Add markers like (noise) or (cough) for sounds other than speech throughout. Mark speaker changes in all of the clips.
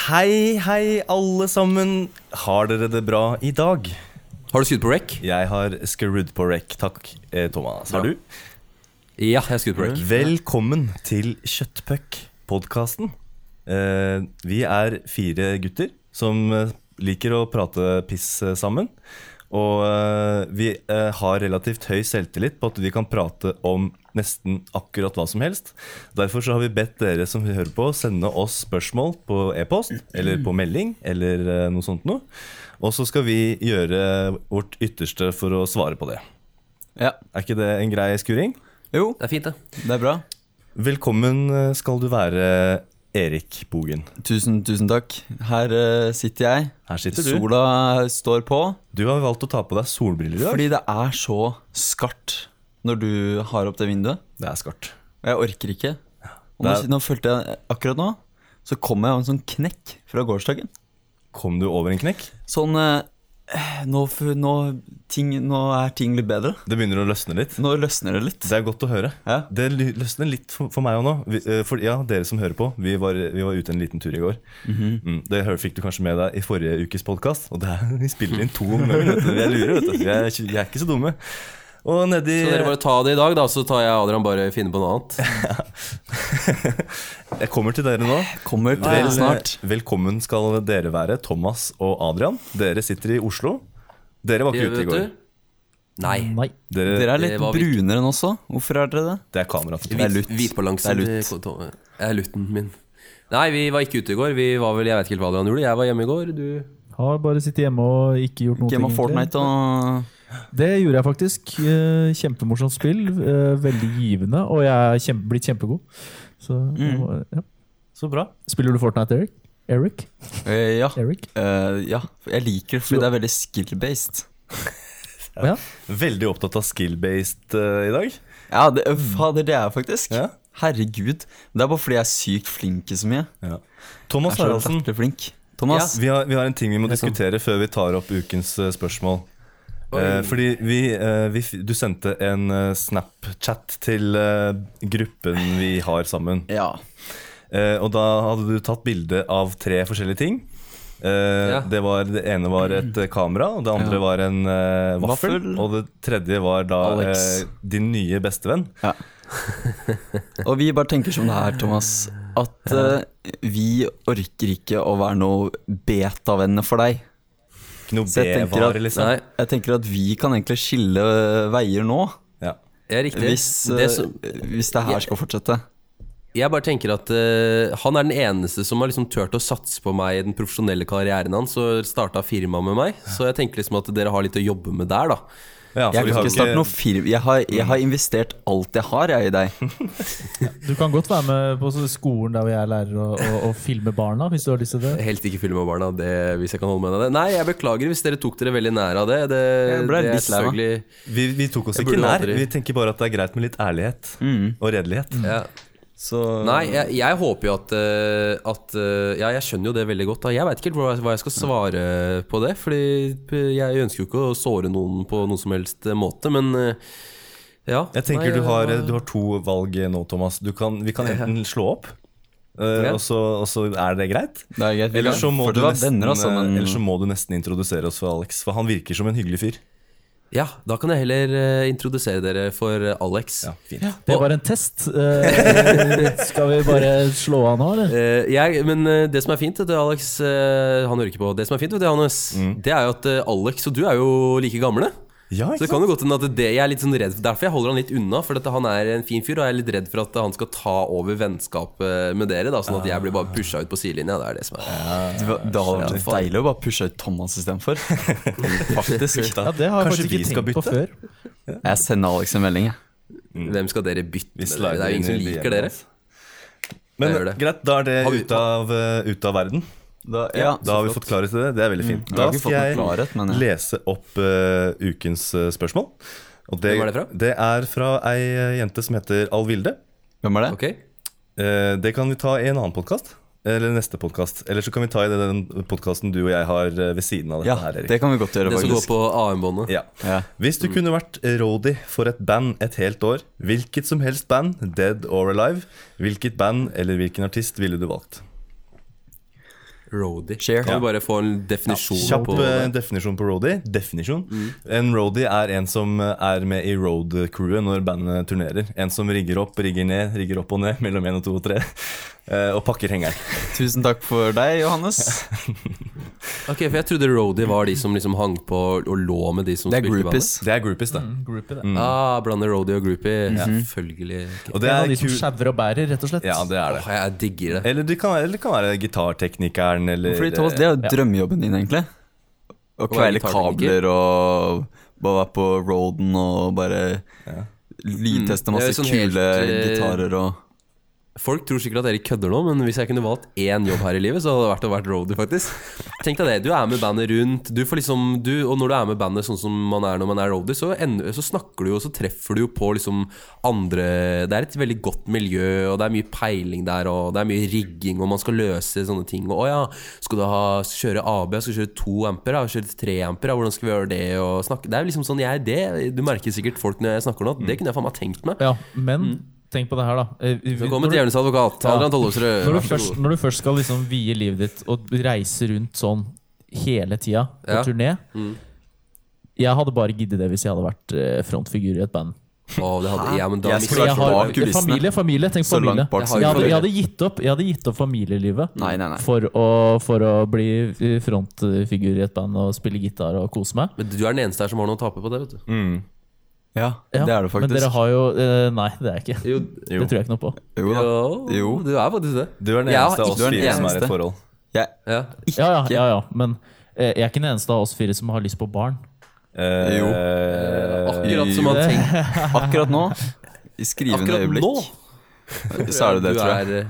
Speaker 1: Hei, hei, alle sammen. Har dere det bra i dag?
Speaker 2: Har du skutt på rec?
Speaker 1: Jeg har skrudd på rekk. Takk, eh, Thomas. Har
Speaker 2: Bra.
Speaker 1: du?
Speaker 2: Ja, jeg har skutt på rec.
Speaker 1: Mm. Velkommen til Kjøttpuck-podkasten. Eh, vi er fire gutter som eh, liker å prate piss eh, sammen. Og eh, vi eh, har relativt høy selvtillit på at vi kan prate om nesten akkurat hva som helst. Derfor så har vi bedt dere som hører på, sende oss spørsmål på e-post eller på melding eller eh, noe sånt noe. Og så skal vi gjøre vårt ytterste for å svare på det.
Speaker 3: Ja,
Speaker 1: Er ikke det en grei skuring?
Speaker 3: jo,
Speaker 2: Det er fint, det.
Speaker 3: det er bra.
Speaker 1: Velkommen eh, skal du være, Erik Bogen.
Speaker 3: Tusen, tusen takk. Her eh, sitter jeg.
Speaker 1: Her sitter du.
Speaker 3: Sola eh, står på.
Speaker 1: Du har valgt å ta på deg solbriller i dag.
Speaker 3: Fordi det er så skarpt når du har opp det vinduet.
Speaker 1: Det er skarpt.
Speaker 3: Og jeg orker ikke. Og
Speaker 1: Det
Speaker 3: nå,
Speaker 1: er-
Speaker 3: nå følte jeg eh, akkurat nå, så kom jeg av en sånn knekk fra gårsdagen.
Speaker 1: Kom du over en knekk?
Speaker 3: Sånn eh, nå, f- nå, ting, nå er ting litt bedre.
Speaker 1: Det begynner å løsne litt.
Speaker 3: Nå løsner det litt.
Speaker 1: Det er godt å høre.
Speaker 3: Ja.
Speaker 1: Det ly- løsner litt for, for meg òg nå. Vi, eh, for, ja, dere som hører på, vi var, vi var ute en liten tur i går.
Speaker 2: Mhm.
Speaker 1: mm, det hør- fikk du kanskje med deg i forrige ukes podkast. Og det er, (laughs) vi spiller inn to om gangen. vet du. Vi er lure, vet du. Vi er, ikke- vi er ikke så dumme. Og nedi
Speaker 2: Så dere bare ta det i dag, da, så tar jeg og Adrian bare finne på noe (laughs) annet.
Speaker 1: Jeg kommer til dere nå.
Speaker 3: Kommer til
Speaker 1: Vel, eh,
Speaker 3: snart.
Speaker 1: Velkommen skal dere være, Thomas og Adrian. Dere sitter i Oslo. Dere var ikke ute i
Speaker 2: Vet
Speaker 1: går.
Speaker 2: du? Nei.
Speaker 1: Dere,
Speaker 3: Dere er
Speaker 2: det
Speaker 3: litt
Speaker 2: var vi ikke.
Speaker 3: brunere enn også. Hvorfor er dere det?
Speaker 1: det er kamera. til
Speaker 3: Det er
Speaker 1: Thomas.
Speaker 3: lutt.
Speaker 2: Hvitbalansen.
Speaker 3: Det er lutt.
Speaker 2: Det er lutten min. Nei, vi var ikke ute i går. Vi var vel, Jeg vet ikke helt hva Adrian gjorde. Jeg var hjemme i går. Du
Speaker 4: Har bare sittet hjemme og ikke gjort noe.
Speaker 3: Game of Fortnite og
Speaker 4: Det gjorde jeg faktisk. Eh, Kjempemorsomt spill. eh, Veldig givende. Og jeg er kjempe, blitt kjempegod. Så, ja.
Speaker 1: Så bra.
Speaker 4: Spiller du Fortnite, Erik? Eric?
Speaker 3: Eh, Ja.
Speaker 4: Eric?
Speaker 3: Eh, ja, for jeg liker det fordi det er veldig skill-based.
Speaker 4: Ja.
Speaker 1: Veldig opptatt av skill-based eh, i dag.
Speaker 3: Ja, det, øh, fader, det er jeg faktisk.
Speaker 1: Ja.
Speaker 3: Herregud. Det er bare fordi jeg er sykt flink i så mye. Jeg
Speaker 1: Thomas
Speaker 3: er så
Speaker 1: Haraldsen,
Speaker 3: latterlig flink. Thomas,
Speaker 1: vi, har, vi har en ting vi må
Speaker 3: sånn.
Speaker 1: diskutere før vi tar opp ukens eh, spørsmål. Eh, fordi vi, eh, vi, f- Du sendte en eh, Snapchat til eh, gruppen vi har sammen.
Speaker 3: ja.
Speaker 1: Eh, og da hadde du tatt bilde av tre forskjellige ting. Eh,
Speaker 2: Ja.
Speaker 1: det, var, det ene var et eh, kamera, og det andre
Speaker 3: Ja.
Speaker 1: var en eh, vaffel,
Speaker 3: Vaffel.
Speaker 1: Og det tredje var da
Speaker 3: Alex.
Speaker 1: eh, din nye bestevenn.
Speaker 3: Og vi bare tenker som det er, Thomas. At eh, vi orker ikke å være noe beta-venner for deg.
Speaker 1: Ikke noe
Speaker 3: Så jeg tenker at-
Speaker 1: B-vare, liksom.
Speaker 2: Nei,
Speaker 3: Jeg tenker at vi kan egentlig skille eh, veier nå,
Speaker 1: Ja.
Speaker 2: jeg er riktig.
Speaker 3: hvis eh,
Speaker 2: det som,
Speaker 3: hvis det her skal fortsette.
Speaker 2: jeg bare tenker at eh, han er den eneste som har liksom turt å satse på meg i den profesjonelle karrieren hans, og starta firma med meg. Så jeg tenker liksom at dere har litt å jobbe med der, da.
Speaker 1: Ja, for
Speaker 3: Jeg
Speaker 1: vi
Speaker 3: kan
Speaker 1: har
Speaker 3: ikke
Speaker 1: jo
Speaker 3: starte noe firma. Jeg har, jeg har investert alt jeg har, jeg, i deg.
Speaker 4: Du kan godt være med på skolen der hvor jeg er lærer og, og, og filme barna, hvis du har lyst til det.
Speaker 2: Helst ikke filme barna, det, hvis jeg kan holde meg unna det. Nei, jeg beklager hvis dere tok dere veldig nær av det. det
Speaker 3: Jeg
Speaker 2: det
Speaker 3: ble
Speaker 2: er
Speaker 3: litt lei meg.
Speaker 2: selvfølgelig-
Speaker 1: Vi, vi tok oss
Speaker 2: Jeg
Speaker 1: ikke
Speaker 2: burde
Speaker 1: nær.
Speaker 2: aldri-
Speaker 1: Vi tenker bare at det er greit med litt ærlighet
Speaker 3: Mm.
Speaker 1: og redelighet.
Speaker 2: Ja.
Speaker 3: Så
Speaker 2: Nei, jeg, jeg håper jo at, eh, at eh, Ja, jeg skjønner jo det veldig godt. Da. Jeg veit ikke helt hva, hva jeg skal svare på det. Fordi jeg ønsker jo ikke å såre noen på noen som helst eh, måte, men eh, ja.
Speaker 1: Jeg tenker
Speaker 2: Nei, eh,
Speaker 1: du, har,
Speaker 2: jeg-
Speaker 1: du har to valg nå, Thomas. Du kan, vi kan enten slå opp, eh,
Speaker 2: Ja.
Speaker 1: og, så, og så er det greit.
Speaker 3: Det er greit. vi
Speaker 1: Eller
Speaker 3: kan-
Speaker 1: så, må
Speaker 3: for
Speaker 1: du
Speaker 3: det var
Speaker 1: nesten,
Speaker 3: venner, altså,
Speaker 1: eh,
Speaker 3: men
Speaker 1: eller så må du nesten introdusere oss for Alex, for han virker som en hyggelig fyr.
Speaker 2: Ja, da kan jeg heller eh, introdusere dere for eh, Alex.
Speaker 1: Ja, fint.
Speaker 4: Det var en test. Eh, (laughs) Skal vi bare slå av nå, eller?
Speaker 2: Eh, jeg, men eh, det som er fint, vet du, Alex eh, Han hører ikke på. Det som er fint, vet du, Hannes, det er jo at eh, Alex og du er jo like gamle.
Speaker 1: Mm. Ja,
Speaker 2: Så
Speaker 1: ikke
Speaker 2: det kan
Speaker 1: sant?
Speaker 2: jo godt hende at det jeg er litt sånn redd Derfor jeg holder han litt unna, for at han er en fin fyr, og jeg er litt redd for at han skal ta over vennskapet med dere, da, sånn at jeg blir bare pusha ut på sidelinja. Det er det som er
Speaker 3: det, var- det hadde vært
Speaker 2: Ja, faen.
Speaker 3: deilig å bare pushe ut Thomas istedenfor. Faktisk.
Speaker 4: Ja, det har
Speaker 1: Kanskje
Speaker 4: jeg faktisk
Speaker 1: vi
Speaker 4: ikke
Speaker 1: skal
Speaker 4: tenkt på
Speaker 1: bytte?
Speaker 4: før.
Speaker 3: Jeg sender Alex en melding, jeg.
Speaker 2: Hvem skal dere bytte
Speaker 1: Vi
Speaker 2: med? Dere? Det er jo ingen som
Speaker 1: slider inn i
Speaker 2: liker
Speaker 1: DM,
Speaker 2: dere.
Speaker 1: altså. Men
Speaker 2: Jeg gjør det.
Speaker 1: greit, da er det
Speaker 2: Har vi-
Speaker 1: ut av, eh, ut av verden.
Speaker 3: Da,
Speaker 1: Da har vi fått klarhet i det. Det er
Speaker 4: Mm.
Speaker 1: veldig fint.
Speaker 3: Jeg
Speaker 1: Da
Speaker 3: har ikke fått
Speaker 1: skal
Speaker 3: noe
Speaker 1: jeg
Speaker 3: klarhet, men jeg-
Speaker 1: lese opp eh, ukens eh, spørsmål. Og det,
Speaker 2: Hvem er det fra?
Speaker 1: det er fra ei eh, jente som heter Alvilde.
Speaker 3: Hvem er det?
Speaker 2: Ok?
Speaker 1: Eh, det kan vi ta i en annen podkast. Eller neste podkast. Eller så kan vi ta i den podkasten du og jeg har eh, ved siden av dette
Speaker 3: Ja,
Speaker 1: her, Erik.
Speaker 3: det kan vi godt gjøre,
Speaker 2: Det som går
Speaker 3: faktisk.
Speaker 2: på AM-båndet.
Speaker 1: Ja.
Speaker 3: Ja.
Speaker 1: Hvis du kunne vært roadie for et band et helt år, hvilket som helst band, dead or alive, hvilket band eller hvilken artist ville du valgt?
Speaker 2: Roadie.
Speaker 3: Share.
Speaker 2: Kan vi bare få en definisjon
Speaker 1: Kjapp
Speaker 2: på
Speaker 1: eh, definisjon på roadie. Definisjon. En roadie er en som eh, er med i road-crewet når bandet turnerer. En som rigger opp, rigger ned, rigger opp og ned mellom én og to og tre. eh, Og pakker hengeren.
Speaker 3: Tusen takk for deg, Johannes.
Speaker 2: Ok, for jeg trodde roadie var de som liksom hang på og lå med de som
Speaker 3: Det er
Speaker 2: spilte i bandet.
Speaker 3: groupies.
Speaker 1: Det er groupies, det.
Speaker 4: Groupie, det.
Speaker 2: Ah, blander roadie og groupie. Selvfølgelig.
Speaker 1: Og
Speaker 4: Det
Speaker 1: det
Speaker 4: er en av
Speaker 1: er
Speaker 4: de som
Speaker 1: kul.
Speaker 4: sjauer og bærer, rett og slett.
Speaker 1: Ja, det er det.
Speaker 2: Åh, jeg digger det.
Speaker 1: Eller det kan være, eller det kan være gitarteknikeren eller
Speaker 3: Fordi Thomas, det er jo
Speaker 4: Ja.
Speaker 3: drømmejobben din, egentlig.
Speaker 2: være
Speaker 3: Å kvele
Speaker 2: gitartekniker.
Speaker 3: kabler og bare være på roaden og bare lydteste
Speaker 2: Mm. Det er
Speaker 3: masse
Speaker 2: jo sånn
Speaker 3: kule
Speaker 2: helt, eh,
Speaker 3: gitarer og
Speaker 2: Folk tror sikkert at dere kødder nå, men hvis jeg kunne valgt én jobb her i livet, så hadde det vært å være roadie, faktisk. Tenk deg det. Du er med bandet rundt, du får liksom du, Og når du er med bandet sånn som man er når man er roadie, så, ender- så snakker du jo, og så treffer du jo på liksom andre Det er et veldig godt miljø, og det er mye peiling der, og det er mye rigging, og man skal løse sånne ting. Og å ja, skal du ha, kjøre AB, skal du kjøre to amper, ja, kjøre tre amper, ja, hvordan skal vi gjøre det, og snakke Det er liksom sånn jeg det, Du merker sikkert folk når jeg snakker nå,
Speaker 4: Mm.
Speaker 2: at det kunne jeg faen meg tenkt meg.
Speaker 4: Ja, men tenk på det her, da. Eh, vi-
Speaker 2: Så kommer
Speaker 4: når du-
Speaker 2: djevelens advokat, Adrian Tollefsrud.
Speaker 4: Når
Speaker 2: Vær
Speaker 4: du,
Speaker 2: så
Speaker 4: først,
Speaker 2: god.
Speaker 4: når du først skal liksom vie livet ditt og reise rundt sånn hele tida på
Speaker 2: Ja.
Speaker 4: turné
Speaker 3: Mm.
Speaker 4: Jeg hadde bare giddet det hvis jeg hadde vært eh, frontfigur i et band.
Speaker 2: Å, det hadde, ja, men da
Speaker 3: Jeg
Speaker 2: mister
Speaker 3: skulle
Speaker 2: jeg
Speaker 4: Jeg
Speaker 3: vært
Speaker 2: har-
Speaker 3: bak kulissene.
Speaker 4: familie, familie, tenk
Speaker 3: Så
Speaker 4: familie.
Speaker 3: langt bak
Speaker 2: Jeg har
Speaker 4: Jeg
Speaker 2: jo
Speaker 4: hadde,
Speaker 2: familie.
Speaker 4: jeg, hadde gitt opp, jeg hadde gitt opp familielivet
Speaker 3: Nei, nei, nei.
Speaker 4: for å, for å bli eh, frontfigur i et band og spille gitar og kose meg.
Speaker 2: Men du er den eneste her som har noe å tape på det, vet du.
Speaker 3: Ja,
Speaker 4: Ja,
Speaker 3: det er det
Speaker 4: Men dere
Speaker 3: faktisk.
Speaker 4: har jo eh, Nei, det er jeg ikke.
Speaker 2: Jo,
Speaker 1: Jo.
Speaker 4: Det tror jeg ikke noe på.
Speaker 3: Jo da. Jo.
Speaker 2: du er faktisk det.
Speaker 1: Du er den
Speaker 2: Jeg har
Speaker 1: eneste av
Speaker 2: ikke-
Speaker 1: oss
Speaker 3: du er den
Speaker 1: fire som er i
Speaker 3: eneste.
Speaker 1: et forhold.
Speaker 3: Jeg,
Speaker 2: Ja.
Speaker 4: Ja, ja, ja, ja. Men eh, jeg er ikke den eneste av oss fire som har lyst på barn.
Speaker 1: Eh,
Speaker 3: Jo. Eh,
Speaker 2: Akkurat som man tenker.
Speaker 3: akkurat nå, (laughs) i skrivende
Speaker 2: Akkurat nå.
Speaker 3: øyeblikk, så er det det,
Speaker 2: Du
Speaker 3: tror jeg.
Speaker 2: er, eh,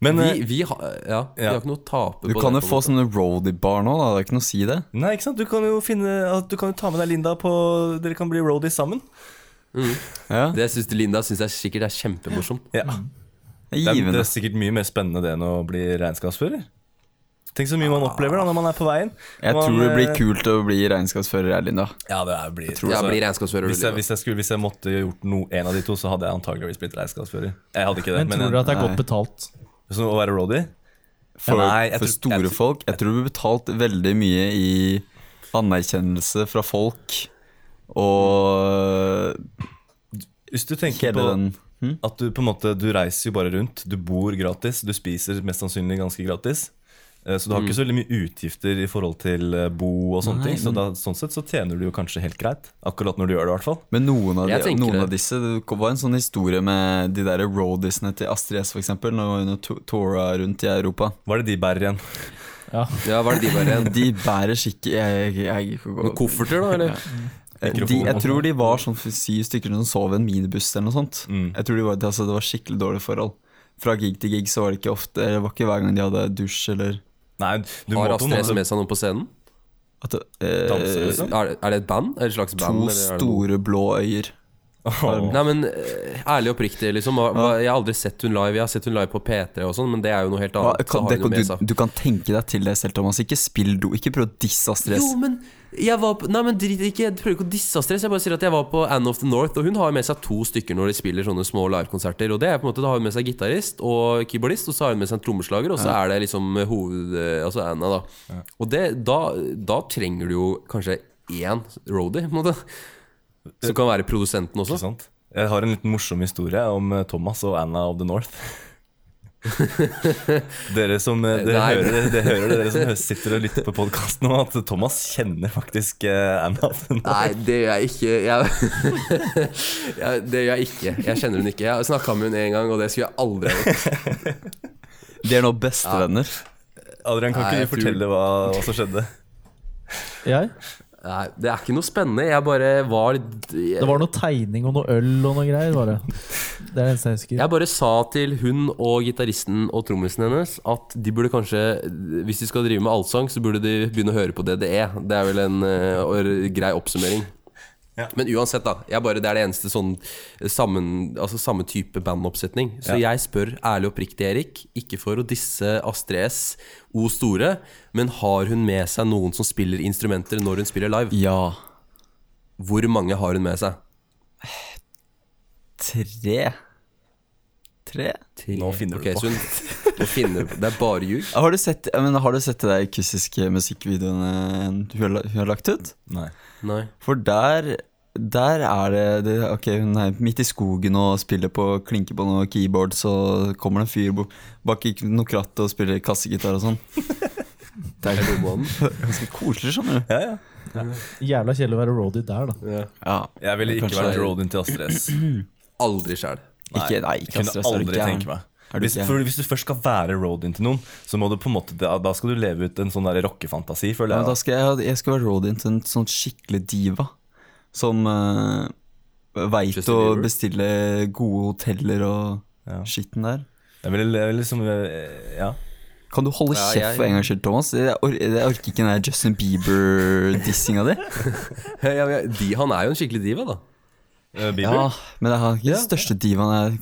Speaker 1: Men eh,
Speaker 2: vi, vi har Ja, vi
Speaker 1: Ja.
Speaker 2: har ikke noe å tape på
Speaker 3: Du kan jo
Speaker 2: det.
Speaker 3: få sånne roadie-bar nå, da. Det er ikke noe å si det.
Speaker 1: Nei, ikke sant? Du kan jo finne at du kan jo ta med deg Linda på Dere kan bli roadies sammen.
Speaker 3: Ja.
Speaker 2: Det syns Linda syns jeg sikkert er kjempemorsomt.
Speaker 1: Ja. Det,
Speaker 3: Det er
Speaker 1: er, det
Speaker 3: givende.
Speaker 1: er sikkert mye mer spennende det enn å bli regnskapsfører. Tenk så mye man opplever da når man er på veien.
Speaker 3: Jeg
Speaker 1: man,
Speaker 3: tror det blir
Speaker 1: eh,
Speaker 3: kult å bli regnskapsfører, her, Linda.
Speaker 1: Ja, det er, blir,
Speaker 2: Jeg
Speaker 1: altså,
Speaker 2: blir regnskapsfører.
Speaker 1: hvis, jeg,
Speaker 2: Linda.
Speaker 1: hvis, jeg skulle, hvis jeg måtte gjort no, en av de to, så hadde jeg antageligvis blitt regnskapsfører. Jeg hadde ikke det,
Speaker 4: Men
Speaker 1: men,
Speaker 4: tror dere at det er
Speaker 3: nei.
Speaker 4: godt betalt?
Speaker 1: så å være roadie
Speaker 3: For,
Speaker 1: Nei, jeg
Speaker 3: for
Speaker 1: tror-
Speaker 3: store
Speaker 1: jeg tror-
Speaker 3: folk. Jeg tror du blir betalt veldig mye i anerkjennelse fra folk og
Speaker 1: Hvis du tenker
Speaker 3: hele
Speaker 1: på
Speaker 3: den
Speaker 1: at du på en måte Du reiser jo bare rundt. Du bor gratis. Du spiser mest sannsynlig ganske gratis. Eh, Så du
Speaker 2: Mm.
Speaker 1: har ikke så veldig mye utgifter i forhold til eh, bo og sånne
Speaker 3: Nei,
Speaker 1: ting. Så da, sånn sett så tjener du jo kanskje helt greit. Akkurat når du gjør det, i hvert fall.
Speaker 3: Men noen, av,
Speaker 2: Jeg
Speaker 3: de,
Speaker 2: tenker
Speaker 3: noen
Speaker 2: det.
Speaker 3: av disse Det var en sånn historie med de der roadiesene til Astrid S, for eksempel, når hun to- toura rundt i Europa.
Speaker 1: Hva er det de bærer igjen? (laughs)
Speaker 2: Ja, hva er det de bare
Speaker 3: De bærer skikkelig Jeg gidder ikke å
Speaker 2: Med
Speaker 3: gå
Speaker 2: Kofferter, da? Eller?
Speaker 3: Eh, de, Jeg tror de var sånn syv stykker som sov i en minibuss eller noe sånt.
Speaker 2: Mm.
Speaker 3: Jeg tror de var, altså, Det var skikkelig dårlige forhold. Fra gig til gig så var det ikke ofte Det var ikke hver gang de hadde dusj eller
Speaker 1: Nei, du må
Speaker 2: Har
Speaker 1: på en
Speaker 2: Astrid S
Speaker 1: måte
Speaker 2: med seg noe på scenen?
Speaker 3: at, det-
Speaker 1: danse,
Speaker 3: eh,
Speaker 1: liksom.
Speaker 2: Er, er det et band? Er det et slags band?
Speaker 3: To
Speaker 2: eller er det noe?
Speaker 3: store blå øyer.
Speaker 1: Åh.
Speaker 2: Nei, men eh, ærlig og oppriktig, liksom. hva- hva- Jeg har aldri sett hun live. Jeg har sett hun live på P3 og sånn, men det er jo noe helt
Speaker 3: Hva,
Speaker 2: annet. så
Speaker 3: kan,
Speaker 2: har
Speaker 3: det,
Speaker 2: hun jo med seg.
Speaker 3: du, du kan tenke deg til det selv, Thomas. Ikke spill do. Ikke prøv å disse Astrid S.
Speaker 2: Jo, men jeg var på Nei, men drit ikke. Jeg prøver ikke å disse Astrid. Jeg bare sier at jeg var på Anne of the North, og hun har jo med seg to stykker når de spiller sånne små livekonserter. Og det er på en måte Da har hun med seg gitarist og keyboardist, og så har hun med seg en trommeslager, og så er det liksom hoved... eh, Altså Anna, da. Og det, da, da trenger du jo kanskje én roadie, på en måte. Som kan være produsenten
Speaker 1: Ikke
Speaker 2: også.
Speaker 1: sant? Jeg har en liten morsom historie om eh, Thomas og Anna of the
Speaker 2: (laughs)
Speaker 1: North. dere som eh, dere
Speaker 2: Nei.
Speaker 1: hører, dere, hører det, dere
Speaker 2: (laughs)
Speaker 1: som hø- sitter og lytter på podkasten nå, at Thomas kjenner faktisk eh, Anna of the North.
Speaker 2: Nei, det gjør jeg ikke. Jeg, (laughs) jeg, det gjør jeg ikke. Jeg kjenner hun ikke. Jeg snakka med hun én gang, og det skulle jeg aldri ha gjort.
Speaker 3: De er nå bestevenner.
Speaker 1: Adrian, kan
Speaker 2: Nei,
Speaker 1: ikke
Speaker 2: jeg
Speaker 1: du fortelle hva, hva som skjedde?
Speaker 4: Jeg?
Speaker 2: Nei, det er ikke noe spennende. Jeg bare var litt
Speaker 4: Det var noe tegning og noe øl og noe greier,
Speaker 1: (laughs)
Speaker 4: var det. Det er det eneste jeg husker.
Speaker 2: Jeg bare sa til hun og gitaristen og trommisen hennes at de burde kanskje, hvis de skal drive med allsang, så burde de begynne å høre på DDE. Det er vel en eh, or- grei oppsummering.
Speaker 1: Ja.
Speaker 2: Men uansett, da. Jeg bare, det er det eneste sånn sammen, altså samme type bandoppsetning. Så jeg spør ærlig og oppriktig Erik, ikke for å disse Astrid S, O store, men har hun med seg noen som spiller instrumenter når hun spiller live?
Speaker 3: Ja.
Speaker 2: Hvor mange har hun med seg?
Speaker 3: Tre. Tre?
Speaker 1: Nå finner du
Speaker 2: Ok,
Speaker 1: på.
Speaker 2: så hun, å finne Det er bare ljug.
Speaker 3: Har du sett, jeg mener, har du sett de der akustiske musikkvideoene hun har, la- hun har lagt ut?
Speaker 1: Nei.
Speaker 2: Nei.
Speaker 3: For der der er det, det Ok, hun er midt i skogen og spiller på klinker på noe keyboard, så kommer det en fyr bort bak i noe kratt og spiller kassegitar og sånn.
Speaker 2: Det er bommaen.
Speaker 3: Ganske koselig, skjønner du.
Speaker 1: Ja, ja.
Speaker 4: Jævla kjedelig å være roadie der, da.
Speaker 2: Ja.
Speaker 3: Ja,
Speaker 1: Jeg ville ikke
Speaker 3: Kanskje
Speaker 1: vært
Speaker 3: det er-
Speaker 1: roadien til Astrid
Speaker 3: (clears throat)
Speaker 1: S.
Speaker 2: Aldri sjæl.
Speaker 3: ikke, nei, ikke
Speaker 1: Jeg kunne
Speaker 3: stress, er du
Speaker 1: aldri
Speaker 3: gæren?
Speaker 1: tenke meg.
Speaker 3: Er du
Speaker 1: Hvis,
Speaker 3: gæren?
Speaker 1: for hvis du først skal være roadien til noen, så må du på en måte, da, da skal du leve ut en sånn der rockefantasi,
Speaker 3: Ja,
Speaker 1: føler
Speaker 3: men da
Speaker 1: jeg.
Speaker 3: skal jeg, jeg skal være roadien til en sånn skikkelig diva. Som uh, veit
Speaker 2: Justin
Speaker 3: å
Speaker 2: Bieber?
Speaker 3: bestille gode hoteller og
Speaker 1: Ja.
Speaker 3: skitten der.
Speaker 1: Jeg ville jeg ville liksom eh, Ja.
Speaker 3: Kan du holde
Speaker 2: Ja,
Speaker 3: kjeft
Speaker 2: jeg-
Speaker 3: for en gangs skyld, Thomas? Jeg, or jeg orker ikke den der Justin Bieber-dissinga di.
Speaker 2: Ja, men jeg- de- han er jo en skikkelig diva, da.
Speaker 1: Eh, Bieber?
Speaker 3: Ja, men det er ikke den største divaen jeg